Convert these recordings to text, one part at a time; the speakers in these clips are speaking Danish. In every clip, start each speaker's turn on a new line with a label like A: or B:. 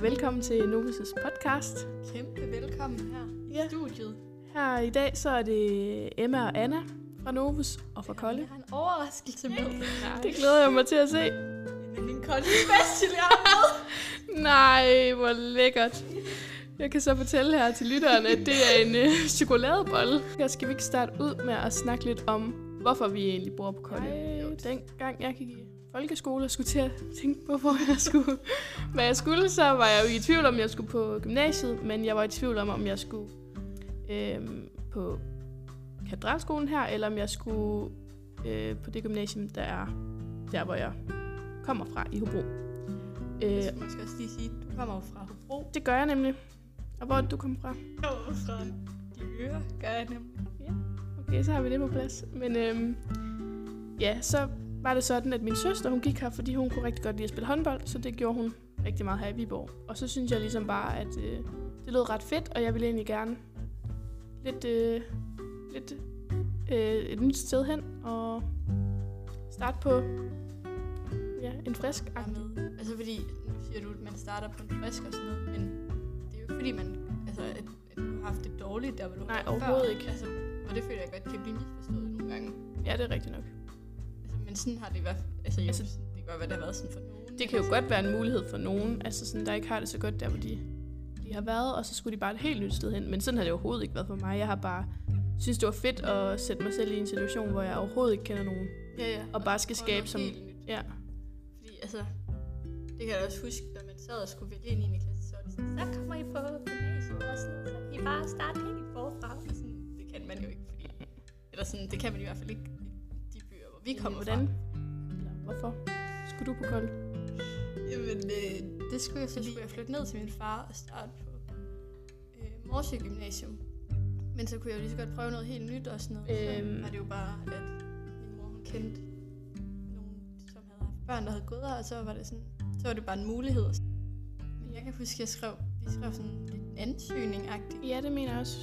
A: velkommen til Novus' podcast.
B: Kæmpe velkommen her
A: Ja.
B: i studiet.
A: Her i dag så er det Emma og Anna fra Novus og fra Kolde.
B: Jeg har en overraskelse med.
A: Det glæder jeg mig til at se.
B: er min kolde special, jeg har
A: Nej, hvor lækkert. Jeg kan så fortælle her til lytteren, at det er en øh, chokoladebolle. Her skal vi ikke starte ud med at snakke lidt om, hvorfor vi egentlig bor på Kolde. Den gang jeg gik i folkeskole og skulle til at tænke på, hvor jeg skulle. Hvad jeg skulle, så var jeg jo i tvivl om, jeg skulle på gymnasiet, men jeg var i tvivl om, om jeg skulle øhm, på katedralskolen her, eller om jeg skulle øh, på det gymnasium, der er der, hvor jeg kommer fra i Hobro.
B: Jeg
A: Øh,
B: skal måske også lige sige, at du kommer jo fra Hobro.
A: det gør jeg nemlig. Og hvor er det, du kom fra?
B: Jeg kommer fra de øre, gør jeg nemlig.
A: Okay, så har vi det på plads. Men øhm, ja, så var det sådan, at min søster hun gik her, fordi hun kunne rigtig godt lide at spille håndbold, så det gjorde hun rigtig meget her i Viborg. Og så synes jeg ligesom bare, at øh, det lød ret fedt, og jeg ville egentlig gerne lidt, øh, lidt øh, et nyt sted hen og starte på ja, en frisk
B: Jeg er med. Altså fordi, nu siger du, at man starter på en frisk og sådan noget, men det er jo ikke fordi, man altså, at, at du har haft det dårligt, der hvor du har
A: Nej,
B: været
A: overhovedet
B: før.
A: ikke.
B: Altså, og det føler jeg godt kan blive misforstået nogle gange.
A: Ja, det er rigtigt nok.
B: Altså, men sådan har det i hvert fald... Altså, jo,
A: Altså-
B: altså, det kan godt være, det har været sådan for nogen.
A: Det kan jo godt være en mulighed for nogen, altså sådan, der ikke har det så godt der, hvor de, de har været, og så skulle de bare et helt nyt sted hen. Men sådan har det overhovedet ikke været for mig. Jeg har bare synes, det var fedt at sætte mig selv i en situation, hvor jeg overhovedet ikke kender nogen.
B: Ja, ja.
A: Og bare skal
B: prøve
A: skabe
B: noget
A: som-
B: helt nyt.
A: Ja,
B: Fordi altså, det kan jeg da også huske, når man sad og skulle vælge en 9. klasse, så var det sådan, så kommer I på gymnasiet og sådan noget, så kan I bare starte helt forfra. Og sådan, det kan man jo ikke, fordi, eller sådan, det kan man i hvert fald ikke i de byer, hvor vi kommer
A: hvordan?
B: fra.
A: Eller hvorfor? Skulle du på kold?
B: Jamen, øh, det skulle jeg så skulle jeg flytte ned til min far og starte på øh, Morsø Gymnasium. Men så kunne jeg jo lige så godt prøve noget helt nyt og sådan noget.
A: Øhm.
B: Så var det jo bare, at min mor hun kendte nogen, som havde haft børn, der havde gået her, og så var det sådan, så var det bare en mulighed. Men jeg kan huske, jeg skrev, vi skrev sådan lidt en ansøgning-agtigt.
A: Ja, det mener jeg også.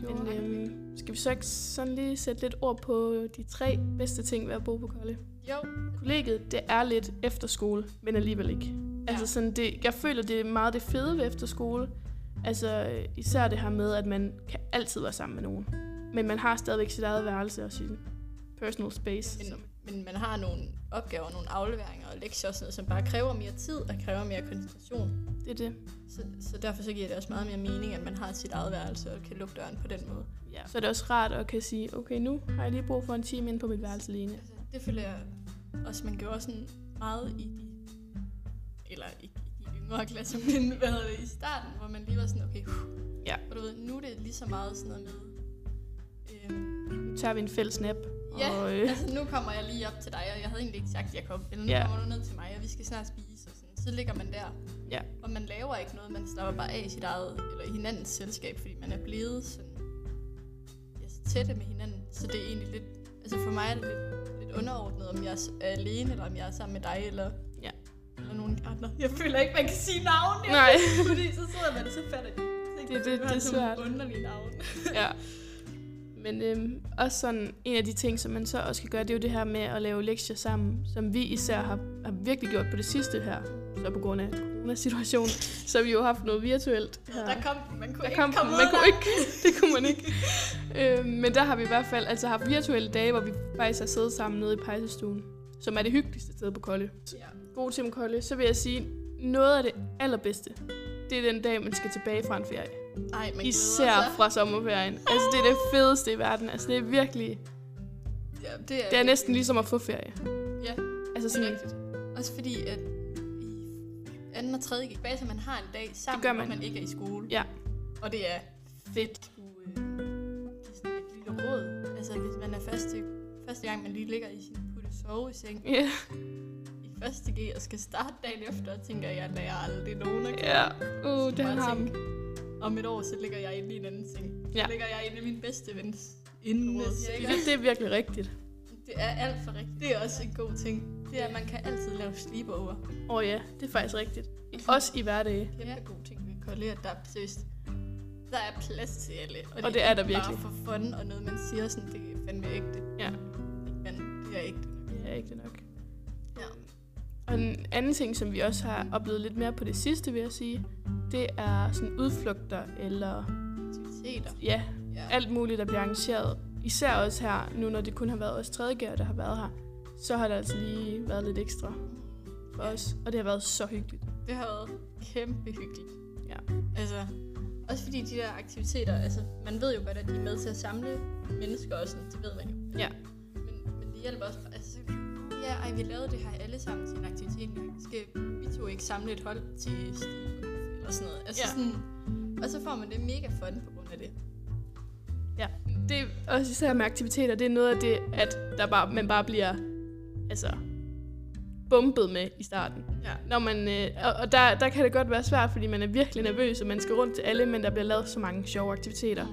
B: gjorde
A: Men,
B: jeg.
A: øhm, skal vi så ikke sådan lige sætte lidt ord på de tre bedste ting ved at bo på Kolde?
B: Jo,
A: Kollegiet, det er lidt efterskole, men alligevel ikke. Ja. Altså
B: Ja.
A: sådan det, jeg føler, det er meget det fede ved efterskole. Altså øh, især det her med, at man kan altid være sammen med nogen. Men man har stadigvæk sit eget værelse og sin personal space.
B: men,
A: som-
B: men man har nogle opgaver, nogle afleveringer og lektier og sådan noget, som bare kræver mere tid og kræver mere koncentration.
A: Det er det.
B: Så, så derfor så giver det også meget mere mening, at man har sit eget værelse og kan lukke døren på den måde.
A: Ja. Så er det også rart at kan sige, okay, nu har jeg lige brug for en time inde på mit værelse alene.
B: Altså, det føler jeg også, man gjorde sådan meget i de, eller ikke i de yngre klasser, men hvad hedder det, i starten, hvor man lige var sådan, okay, uh,
A: Ja.
B: og du ved, nu er det lige så meget sådan noget med, øhm,
A: Nu tager vi en fælles nap.
B: ja,
A: Og, øh,
B: altså nu kommer jeg lige op til dig, og jeg havde egentlig ikke sagt, at jeg kom, eller nu
A: Ja.
B: kommer du ned til mig, og vi skal snart spise, og sådan. så ligger man der,
A: Ja.
B: og man laver ikke noget, man slapper bare af i sit eget, eller i hinandens selskab, fordi man er blevet sådan, ja, så tætte med hinanden, så det er egentlig lidt, altså for mig er det lidt, lidt underordnet, om jeg er s- er alene, eller om jeg er sammen med dig, eller,
A: Ja.
B: eller nogen andre. Jeg føler ikke, man kan sige navn, jeg-
A: Nej.
B: fordi så sidder man, og så fatter de. ikke,
A: Det- det-
B: fordi man
A: det
B: har
A: er
B: sådan nogle
A: svært.
B: underlige navn.
A: ja. Men øhm, også sådan en af de ting, som man så også kan gøre, det er jo det her med at lave lektier sammen, som vi især har, har virkelig gjort på det sidste her, så på grund af coronasituationen, så har vi jo haft noget virtuelt her.
B: Der kom den, man kunne
A: Der
B: ikke
A: kom
B: komme
A: den,
B: ud
A: man
B: af
A: kunne
B: den.
A: ikke, det kunne man ikke. øhm, men der har vi i hvert fald altså haft virtuelle dage, hvor vi faktisk har siddet sammen nede i pejsestuen, som er det hyggeligste sted på Kolde.
B: Ja.
A: God Tim Kolde, så vil jeg sige, noget af det allerbedste, det er den dag, man skal tilbage fra en ferie.
B: Ej, man glæder
A: Især
B: sig.
A: fra sommerferien. Altså, det er det fedeste i verden. Altså, det er virkelig...
B: Ja, det er,
A: Det er næsten ligesom at få ferie.
B: Ja,
A: Altså
B: det er
A: sådan...
B: rigtigt. Også fordi, at i anden og tredje gik bag, så man har en dag sammen,
A: Det gør man.
B: hvor man ikke er i skole.
A: Ja.
B: Og det er
A: Fedt.
B: sgu, øh, det er sådan et lille råd. Altså, hvis man er første, første gang, man lige ligger i sin putte soveseng
A: Ja,
B: i første G og skal starte dagen efter, og tænker jeg, at jeg aldrig nogen at
A: ja. Uh,
B: Så
A: det
B: må
A: han
B: jeg
A: har
B: tænke,
A: dem.
B: Om et år, så ligger jeg inde i en anden seng. Så
A: Ja.
B: ligger jeg inde i min bedste vens indenråd.
A: Det, det er virkelig rigtigt.
B: Det er alt for rigtigt. Det er også en god ting. Det er, at man kan altid lave sleepover.
A: Åh oh, ja, det er faktisk rigtigt. Også i hverdage.
B: Kæmpe ja. god ting ved Kolde, at der er seriøst. Der er plads til alle. Og,
A: det er der
B: ikke
A: virkelig.
B: Bare for fun og noget, man siger sådan, det er fandme ægte.
A: Ja.
B: Men det er ægte.
A: Det er ikke det nok.
B: Ja.
A: Og en anden ting, som vi også har oplevet lidt mere på det sidste, vil jeg sige, det er sådan udflugter eller
B: Aktiviteter.
A: ja,
B: Ja.
A: alt muligt, der bliver arrangeret. Især også her, nu når det kun har været os tredjegærer, der har været her, så har der altså lige været lidt ekstra for os, og det har været så hyggeligt.
B: Det har været kæmpe hyggeligt.
A: Ja.
B: Altså, også fordi de der aktiviteter, altså, man ved jo godt, at de er med til at samle mennesker og sådan, det ved man jo.
A: Ja.
B: Men, men det hjælper også, altså, så- ja, ej, vi lavede det her alle sammen til en aktivitet engang. Skal vi to ikke samle et hold til Steve eller sådan noget? Altså,
A: Ja.
B: ja. sådan, og så får man det mega fun på grund af det.
A: Ja. Det er også især med aktiviteter, det er noget af det, at der bare, man bare bliver altså, bumpet med i starten.
B: Ja.
A: Når man, øh, og og der, der kan det godt være svært, fordi man er virkelig nervøs, og man skal rundt til alle, men der bliver lavet så mange sjove aktiviteter.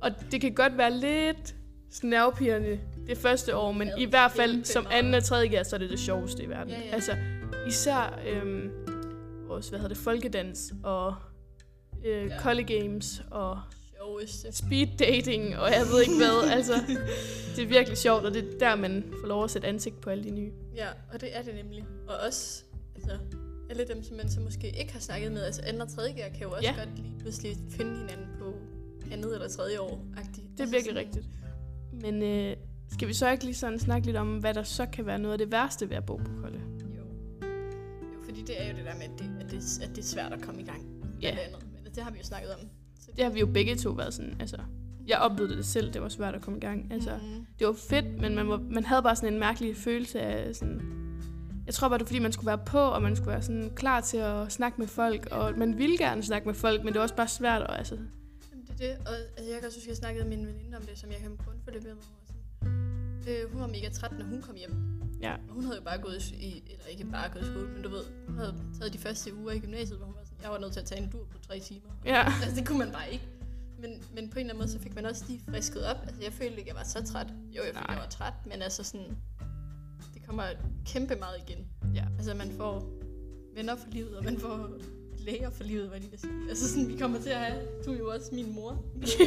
A: Og det kan godt være lidt snavpirrende det første år, men
B: Ja,
A: i hvert fald
B: kæmpe
A: som
B: meget.
A: anden og tredje gear, så er det det sjoveste i verden.
B: Ja, ja.
A: Altså især øhm, vores, hvad hedder det, folkedans og øh,
B: Ja.
A: Collie Games og
B: Sjoveste.
A: speed dating, og jeg ved ikke hvad. altså, det er virkelig sjovt, og det er der, man får lov at sætte ansigt på alle de nye.
B: Ja, og det er det nemlig. Og også, altså, alle dem, som man så måske ikke har snakket med, altså andre og tredje gear, kan jo også
A: Ja.
B: ja. godt lige pludselig finde hinanden på andet eller tredje år -agtigt. Altså,
A: Det er virkelig rigtigt. Men øh, skal vi så ikke lige sådan snakke lidt om, hvad der så kan være noget af det værste ved at bo på Kolde?
B: Jo. jo. fordi det er jo det der med, at det, at det, at det er svært at komme i gang med
A: Ja.
B: det andet. Men altså, det har vi jo snakket om. Så
A: Det har vi jo begge to været sådan, altså... Jeg oplevede det selv, det var svært at komme i gang. Altså,
B: Mm.
A: det var fedt, men man, var, man havde bare sådan en mærkelig følelse af sådan... Jeg tror bare, det var, fordi man skulle være på, og man skulle være sådan klar til at snakke med folk, og man ville gerne snakke med folk, men det var også bare svært, og altså...
B: Jamen, Det er det, og altså, jeg kan også huske, at jeg snakkede med min veninde om det, som jeg kom på grundforløb med. og sådan. Øh, hun var mega træt, når hun kom hjem.
A: Ja.
B: Og hun havde jo bare gået i, eller ikke bare gået i skole, men du ved, hun havde taget de første uger i gymnasiet, hvor hun var sådan, jeg var nødt til at tage en dur på tre timer.
A: Ja,
B: Altså, det kunne man bare ikke. Men, men på en eller anden måde, så fik man også lige frisket op. Altså, jeg følte ikke, jeg var så træt. Jo, jeg følte,
A: Nej.
B: jeg var træt, men altså sådan, det kommer kæmpe meget igen.
A: Ja.
B: Altså, man får venner for livet, og man får læger for livet, hvad de vil sige. Altså, sådan, vi kommer til at have, du er jo også min mor. altså,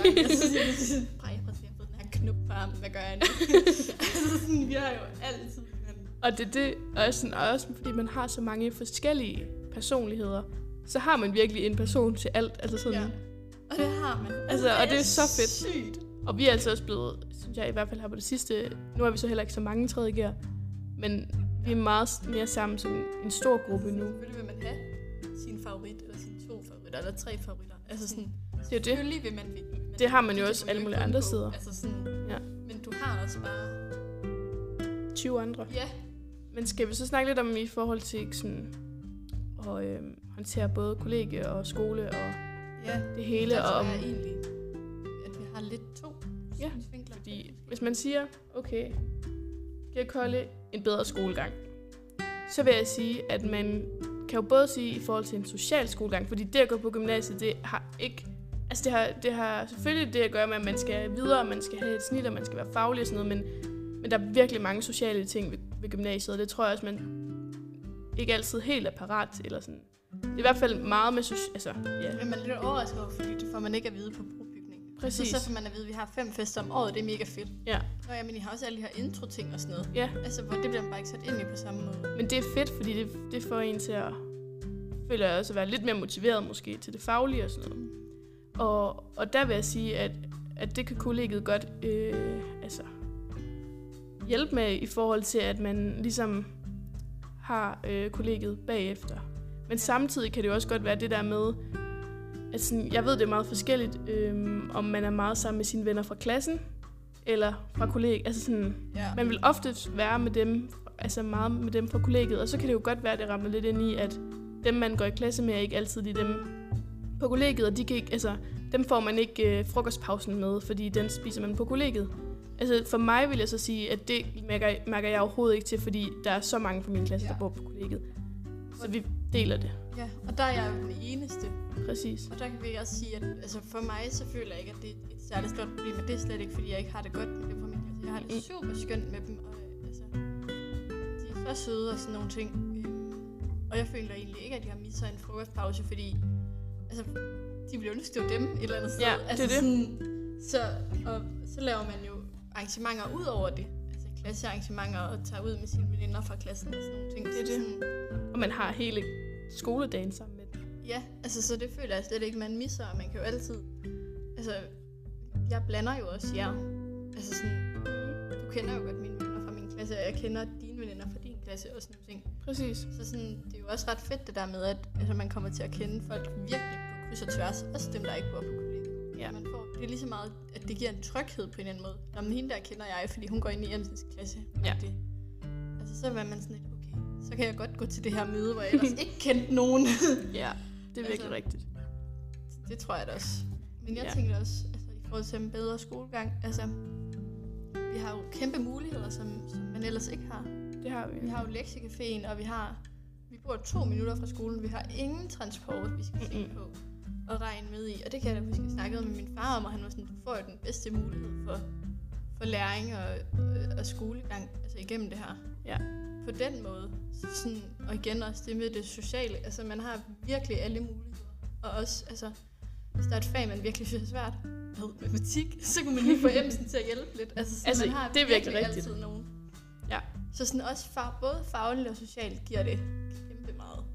B: sådan, jeg synes, "Ej, prøv at se, jeg har fået den her knop på armen, hvad gør jeg nu? altså, sådan, vi har jo altid hinanden.
A: Og det er det, og sådan, og også fordi man har så mange forskellige personligheder, så har man virkelig en person til alt. Altså sådan.
B: Ja.
A: Ja.
B: Og det har man.
A: Altså, og det er så fedt.
B: Sygt.
A: Og vi er altså også blevet, synes jeg i hvert fald her på det sidste, nu er vi så heller ikke så mange tredje gear, men vi er meget s- mere sammen som en stor gruppe nu.
B: Selvfølgelig Altså, vil man have sin favorit, eller sine to favoritter, eller tre favoritter. Altså sådan,
A: er jo Mm. det.
B: selvfølgelig vil man vinde. men
A: Det har man jo
B: kan
A: også alle
B: ikke
A: mulige andre
B: undgå.
A: steder.
B: Altså sådan,
A: Ja.
B: Men du har også bare...
A: 20 andre.
B: Ja,
A: Men skal vi så snakke lidt om i forhold til sådan, at øh, håndtere både kollegie og skole og
B: ja.
A: det hele, og
B: og
A: om
B: Altså, Jeg egentlig, at vi har lidt to
A: Ja,
B: synsvinkler.
A: Fordi hvis man siger, okay, giver Kolde en bedre skolegang, så vil jeg sige, at man kan jo både sige i forhold til en social skolegang, fordi det at gå på gymnasiet, det har ikke... Altså det har, det har selvfølgelig det at gøre med, at man skal videre, man skal have et snit, og man skal være faglig og sådan noget, men, men der er virkelig mange sociale ting ved, ved gymnasiet, og det tror jeg også, man ikke altid helt er parat til, eller sådan. Det er i hvert fald meget med social... Altså, ja,
B: Men man er lidt overrasket over, fordi det får man ikke at vide på brobygningen.
A: Præcis.
B: Så, så får man at vide, at vi har fem fester om året, det er mega fedt.
A: ja,
B: Nå ja, men I har også alle de her intro-ting og sådan noget.
A: ja.
B: Altså, hvor det bliver man bare ikke sat ind i på samme måde.
A: Men det er fedt, fordi det, det får en til at, føler jeg også, at være lidt mere motiveret måske til det faglige og sådan noget. Og, og der vil jeg sige, at, at det kan kollegiet godt øh, altså, hjælpe med i forhold til, at man ligesom har øh, kollegiet bagefter. Men samtidig kan det jo også godt være det der med, at sådan, jeg ved, det er meget forskelligt, øh, om man er meget sammen med sine venner fra klassen, eller fra kollegiet. Altså sådan,
B: Ja.
A: man vil ofte være med dem, altså meget med dem fra kollegiet, og så kan det jo godt være, at det rammer lidt ind i, at dem, man går i klasse med, er ikke altid lige dem på kollegiet, og de kan ikke, altså, dem får man ikke øh, frokostpausen med, fordi den spiser man på kollegiet. Altså, for mig vil jeg så sige, at det mærker, mærker jeg overhovedet ikke til, fordi der er så mange fra min klasse, ja. der
B: Ja.
A: bor på kollegiet. Så vi deler det,
B: ja. Og der er jeg jo den eneste,
A: præcis.
B: Og der kan vi også sige, at altså for mig så føler jeg ikke, at det er et særligt stort problem, og det er slet ikke, fordi jeg ikke har det godt med det på min klasse. Jeg har
A: Mm.
B: det super skønt med dem, og øh, altså, de er så søde og sådan nogle ting. Øhm, Og jeg føler egentlig ikke, at jeg har misset en frokostpause, fordi altså, de ville ønske, det var dem et eller andet sted.
A: Ja, det er
B: altså,
A: det.
B: Sådan, så, og så laver man jo arrangementer ud over det. Altså klassearrangementer og tager ud med sine veninder fra klassen og sådan nogle ting.
A: Det er
B: Så
A: det.
B: Sådan,
A: Og man har hele skoledagen sammen med dem.
B: ja, altså så det føler jeg slet ikke, man misser, og man kan jo altid... Altså, jeg blander jo også jer. Altså sådan, du kender jo godt mine veninder fra min klasse, og jeg kender dine veninder fra din klasse og sådan nogle ting.
A: Præcis.
B: Så sådan, det er jo også ret fedt det der med, at altså, man kommer til at kende folk virkelig på kryds og tværs. Også dem, der ikke bor på kollegiet.
A: Ja.
B: Man får, det er lige så meget, at det giver en tryghed på en eller anden måde. Når hende der kender jeg, fordi hun går ind i Jensens klasse.
A: Ja.
B: Det, altså så er man sådan lidt, okay, så kan jeg godt gå til det her møde, hvor jeg ellers ikke kendte nogen.
A: Ja, det er virkelig
B: Altså-
A: rigtigt.
B: det tror jeg da også. Men jeg
A: Ja.
B: ja. tænkte også, altså, i forhold til en bedre skolegang, altså, vi har jo kæmpe muligheder, som, som man ellers ikke har.
A: Det har vi.
B: Vi har jo lektiecaféen, og vi har... Vi bor to minutter fra skolen. Vi har ingen transport, vi skal tænke på og regne med i. Og det kan jeg da huske, jeg snakkede med min far om, og han var sådan, du får jo den bedste mulighed for, for læring og, øh, og, og skolegang altså igennem det her.
A: Ja.
B: På den måde. Så sådan, og igen også det med det sociale. Altså man har virkelig alle muligheder. Og også, altså, hvis der er et fag, man virkelig synes er svært, hvad, matematik, så kunne man lige få emsen til at hjælpe lidt. Altså, så
A: Altså,
B: man har
A: det er virkelig rigtigt.
B: altid nogen.
A: Ja.
B: Så sådan også fag, både fagligt og socialt giver det kæmpe meget.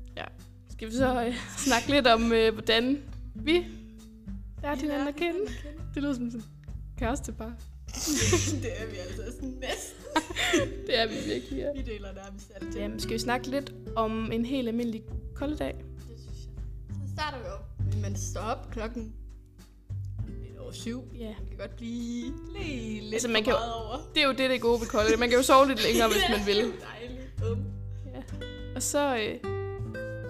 A: Skal vi så øh, snakke lidt om, øh, hvordan vi lærer hinanden at kende? Det lyder som sådan kærestepar.
B: det er vi altså sådan næsten.
A: Det er vi virkelig, ja.
B: Vi deler nærmest alt det.
A: Jamen, skal vi snakke lidt om en helt almindelig koldedag?
B: Det synes jeg. Så starter vi jo. Men man står op klokken lidt over syv.
A: Ja.
B: Man kan godt blive lige lidt
A: Altså, man
B: for
A: kan jo-
B: meget over.
A: Det er jo det, det er gode ved kolde. Man kan jo sove lidt længere, hvis man vil.
B: Det er dejligt. Bum.
A: Og så, øh,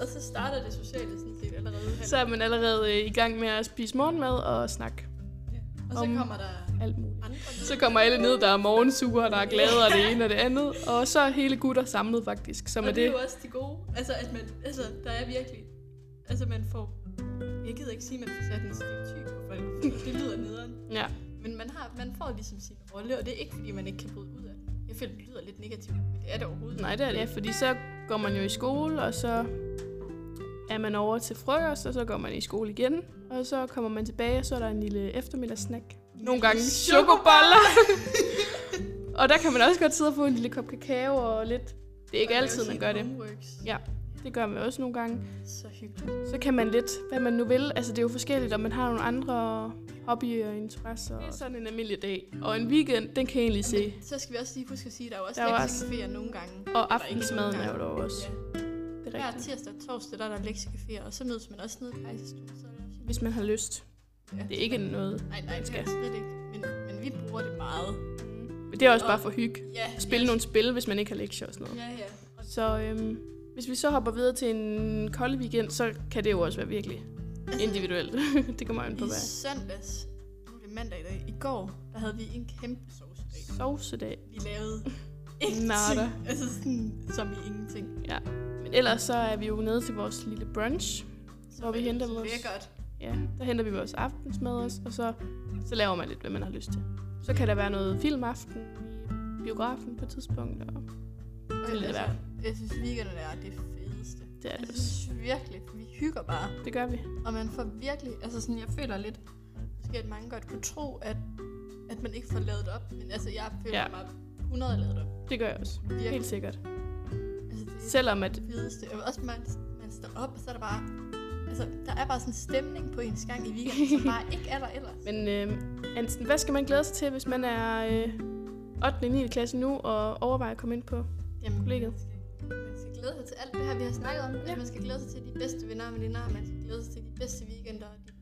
B: Og så starter det sociale sådan set allerede her.
A: så er man allerede øh, i gang med at spise morgenmad og snakke
B: og så
A: om-
B: kommer der
A: alt muligt.
B: andre
A: Så kommer alle ned, der er morgensuger, der er glade og det ene og det andet. Og så er hele gutter samlet faktisk, som er
B: og det er
A: det.
B: jo også det gode. Altså, at man, altså, der er virkelig... Altså, man får... Jeg gider ikke sige, at man får sat en stereotyp på folk. fordi Det lyder nederen.
A: Ja,
B: Men man, har, man får ligesom sin rolle, og det er ikke, fordi man ikke kan bryde ud af den. Jeg føler, det lyder lidt negativt, men det er det overhovedet
A: nej det er det. Ja, fordi så går man jo i skole, og så er man over til frokost, og så går man i skole igen. Og så kommer man tilbage, og så er der en lille eftermiddagssnack. Nogle gange chokoboller. og der kan man også godt sidde og få en lille kop kakao og lidt... Det er ikke altid, man gør det. Ja, det gør man også nogle gange.
B: Så hyggeligt.
A: Så kan man lidt, hvad man nu vil. Altså, det er jo forskelligt, om man har nogle andre hobbyer og interesser. Det er sådan en almindelig dag. Og en weekend, den kan jeg egentlig se.
B: Så skal vi også lige huske at sige, at der er jo også
A: Der er jo
B: lektiecaféer nogle gange.
A: Og
B: Eller ikke nogle
A: aftensmaden
B: gange.
A: er jo der også.
B: Ja.
A: Det er
B: Hver
A: rigtigt.
B: tirsdag og torsdag, der er der lektiecaféer, og så mødes man også nede i Kejserstuen. Så er der også...
A: Hvis man har lyst.
B: Ja.
A: Det er ikke noget.
B: Nej, nej, det er
A: skal.
B: det slet ikke. Men, men vi bruger det meget.
A: Men det er også bare for hygge.
B: Ja,
A: Spille nogle spil, hvis man ikke har lektier og sådan noget.
B: Ja, ja. Og
A: Så øhm, hvis vi så hopper videre til en kold weekend, så kan det jo også være virkelig individuelt. det kommer an på
B: I
A: hvad.
B: søndags, nu er det mandag i dag, i går, der havde vi en kæmpe sovsedag.
A: Sovsedag.
B: Vi lavede ingenting.
A: Nada.
B: Altså sådan, som i ingenting.
A: Ja. Men ellers så er vi jo nede til vores lille brunch.
B: Så
A: Hvor vi henter vores-
B: Lækkert.
A: Ja, der henter vi vores aftensmad også, og så, så laver man lidt, hvad man har lyst til. Så kan der være noget filmaften i biografen på et tidspunkt, og
B: Og
A: lidt af
B: altså, Jeg synes, weekenderne er det fedeste. Altså,
A: det er
B: Jeg
A: det også.
B: synes virkelig, for vi hygger bare.
A: Det gør vi.
B: Og man får virkelig, altså sådan, jeg føler lidt, måske at mange godt kunne tro, at, at man ikke får lavet op. Men altså, jeg føler
A: Ja.
B: ja. mig 100 lavet op.
A: Det gør jeg også.
B: Virkelig.
A: Helt sikkert.
B: Altså, det er
A: Selvom at,
B: det fedeste. Og også man, man står op, og så er der bare... Altså, der er bare sådan en stemning på ens gang i weekenden, som bare ikke er der ellers.
A: men øh, Ansen, hvad skal man glæde sig til, hvis man er øh, 8. 9. klasse nu og overvejer at komme ind på
B: Jamen,
A: kollegiet?
B: Man skal glæde sig til alt det her, vi har snakket om. Ja. Man skal glæde sig til de bedste venner og veninder, og man skal glæde sig til de bedste weekender. Og de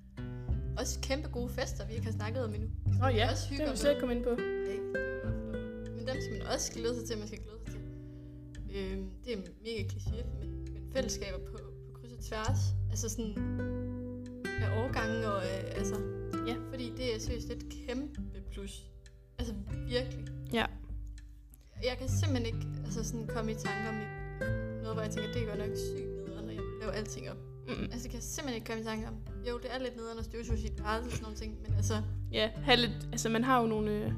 B: også kæmpe gode fester, vi ikke har snakket om endnu. Som
A: Nå
B: man
A: ja,
B: også
A: det
B: hygger
A: har vi slet ikke kommet ind på.
B: med. Ej, det er jo nok flot. Men dem skal man også glæde sig til, man skal glæde sig til. Øhm, det er mega kliché, men, men fællesskaber på, på kryds og tværs. Altså sådan af årgange og øh, altså...
A: Ja.
B: Fordi det er seriøst et kæmpe plus. Altså virkelig
A: Ja,
B: jeg kan simpelthen ikke altså sådan komme i tanker om et- noget, hvor jeg tænker, det er godt nok sygt nederen, og jeg vil lave alting op.
A: Mm.
B: Mm. Altså, jeg kan simpelthen ikke komme i tanker om, jo, det er lidt nederen at støvsuge sit værelse og sådan nogle ting, men altså,
A: ja. Have lidt, altså man har jo nogle, øh,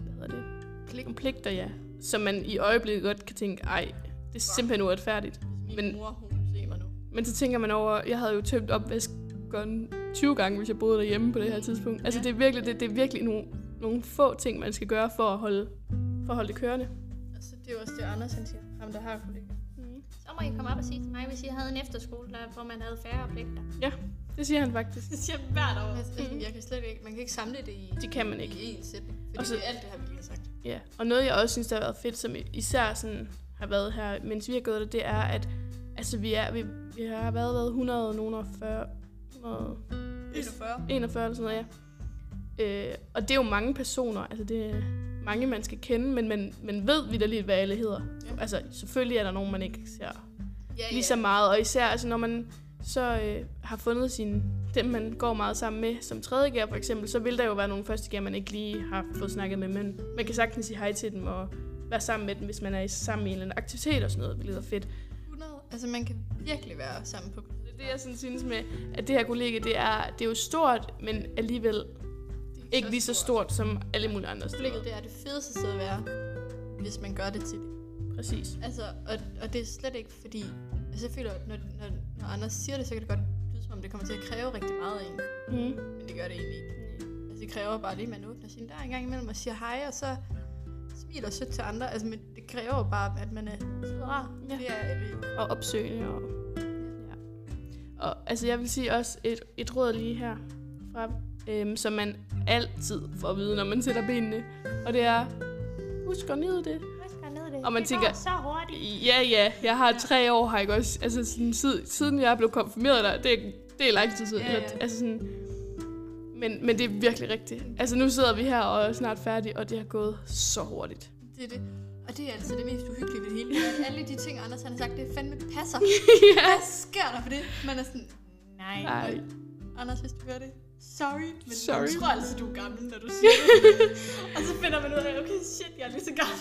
A: hvad hedder det?
B: klik
A: Nogle pligter, ja. Som man i øjeblikket godt kan tænke, ej, det er simpelthen uretfærdigt.
B: min
A: men-
B: men... mor, hun kunne se mig nu.
A: Men så tænker man over, jeg havde jo tømt opvaskeren 20 gange, hvis jeg boede derhjemme på det her tidspunkt. Altså
B: Ja.
A: det er virkelig, det, det er virkelig nogle, nogle få ting, man skal gøre for at holde, for for at holde det kørende.
B: Altså, det er jo også det, Anders han siger. Ham, der har kollega.
A: Mm.
B: Så må I komme op og sige til mig, hvis I havde en efterskole, der, hvor man havde færre pligter.
A: Det siger han faktisk.
B: Det siger jeg hvert år. Altså, sådan, jeg kan slet ikke, man kan ikke samle det i,
A: Det kan man ikke.
B: i én sætning. Fordi
A: Og så-
B: det er alt det her, vi lige har sagt.
A: Ja, og noget jeg også synes, der har været fedt, som især sådan har været her, mens vi har gået der, det er, at altså, vi, er, vi, vi har været, været 100 og nogen og 40, 141
B: 41.
A: eller sådan noget, ja. Øh, og det er jo mange personer, altså det er mange, man skal kende, men man, man ved vidderligt, hvad alle hedder.
B: Ja.
A: Altså selvfølgelig er der nogen, man ikke ser
B: Ja,
A: lige så meget, og især altså, når man så øh, har fundet sin, dem, man går meget sammen med som tredje gear for eksempel, så vil der jo være nogle første gear, man ikke lige har fået snakket med, men man kan sagtens sige hej til dem og være sammen med dem, hvis man er i- sammen i en eller anden aktivitet og sådan noget, hvilket er fedt.
B: 100. Altså, man kan virkelig være sammen på
A: Det er det, jeg sådan synes med, at det her kollega, det er, det er jo stort, men alligevel ikke lige så stort som alle mulige andre
B: Blikket,
A: steder.
B: det er det fedeste sted at være, hvis man gør det til det.
A: Præcis.
B: Altså, og, og det er slet ikke fordi... Altså, jeg føler, når, når, når Anders siger det, så kan det godt lyde som om, det kommer til at kræve rigtig meget af en.
A: Mm.
B: Men det gør det egentlig ikke. Altså, det kræver bare lige, at man åbner sin dør en gang imellem og siger hej, og så smiler sødt til andre. Altså, men det kræver jo bare, at man er sød og rar.
A: Ja.
B: Det er alle jo.
A: og opsøgende. Og, ja. og altså, jeg vil sige også et, et råd lige her, fra, øhm, som man altid får at vide, når man sætter benene. Og det er, husk at nyde det. Og man tænker,
B: så hurtigt.
A: ja ja, jeg har tre år, har jeg også, altså sådan, sid- siden jeg blev konfirmeret der, det, er- det er lang tid siden.
B: Ja, ja.
A: Eller, altså sådan, men, men det er virkelig rigtigt. Altså nu sidder vi her og er snart færdige, og det har gået så hurtigt.
B: Det er det. Og det er altså det mest uhyggelige ved det hele. At alle de ting, Anders han har sagt, det fandme passer.
A: Ja.
B: Hvad sker der for det? Man er sådan, nej.
A: Nej.
B: Anders, hvis du gør det, sorry. Men
A: Sorry.
B: jeg tror altså, du er gammel, når du siger det. og så finder man ud af, okay, shit, jeg er lige så gammel.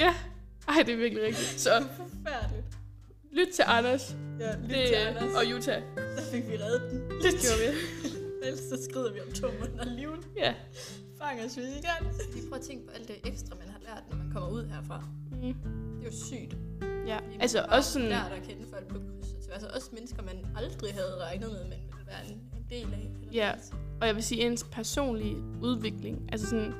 A: Ja, ej, det er virkelig rigtigt. Så
B: Forfærdeligt.
A: lyt til Anders,
B: Ja, lidt
A: det,
B: til
A: øh,
B: Anders.
A: og Jutta.
B: Så fik vi reddet den.
A: Det gjorde vi.
B: Ellers så skrider vi om to måneder livet.
A: Ja.
B: Fanger os igen. Lige prøv at tænke på alt det ekstra, man har lært, når man kommer ud herfra.
A: Mm.
B: Det er jo sygt.
A: Ja,
B: Fordi
A: altså
B: man
A: også sådan...
B: lært at kende folk på kryds og tværs. og Også mennesker, man aldrig havde regnet med, man ville være en, en del af. eller
A: Ja.
B: hvad man siger.
A: Og jeg vil sige, ens personlige udvikling, altså sådan...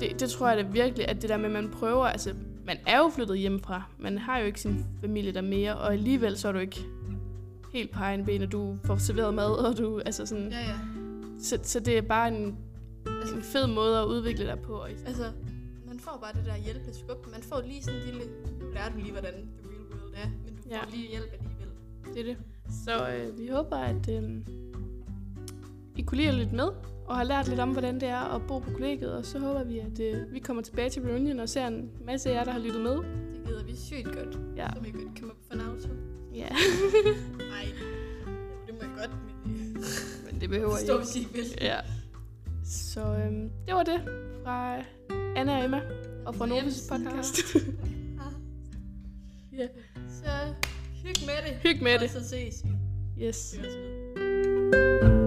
A: Det, det tror jeg da virkelig, at det der med, at man prøver... Altså, man er jo flyttet hjemmefra. Man har jo ikke sin familie der mere, og alligevel så er du ikke helt på egen ben, og du får serveret mad, og du... Altså sådan...
B: Ja, ja.
A: Så, så det er bare en,
B: Altså-
A: en fed måde at udvikle dig på. Og,
B: Altså, man får bare det der hjælp af skub. Man får lige sådan en lille... Nu lærer du lige, hvordan the real world er, men du
A: Ja.
B: ja. får lige hjælp alligevel.
A: det er det. Så øh, vi håber, at øh, I kunne lide at lytte med, og har lært lidt om, hvordan det er at bo på kollegiet, og så håber vi, at øh, vi kommer tilbage til reunion og ser en masse af jer, der har lyttet med.
B: Det gider vi sygt godt.
A: Ja.
B: Så må I godt komme op for en auto.
A: Ja,
B: Nej, det må I godt, men det
A: men det behøver I
B: forstår,
A: ikke.
B: hvis I ikke vil.
A: Ja. Så øhm, det var det fra Anna og Emma, og fra Novus podcast. ja.
B: Så hyg med det.
A: Hyg med
B: og
A: det.
B: så ses vi.
A: Yes.
B: Vi høres ved.
A: Thank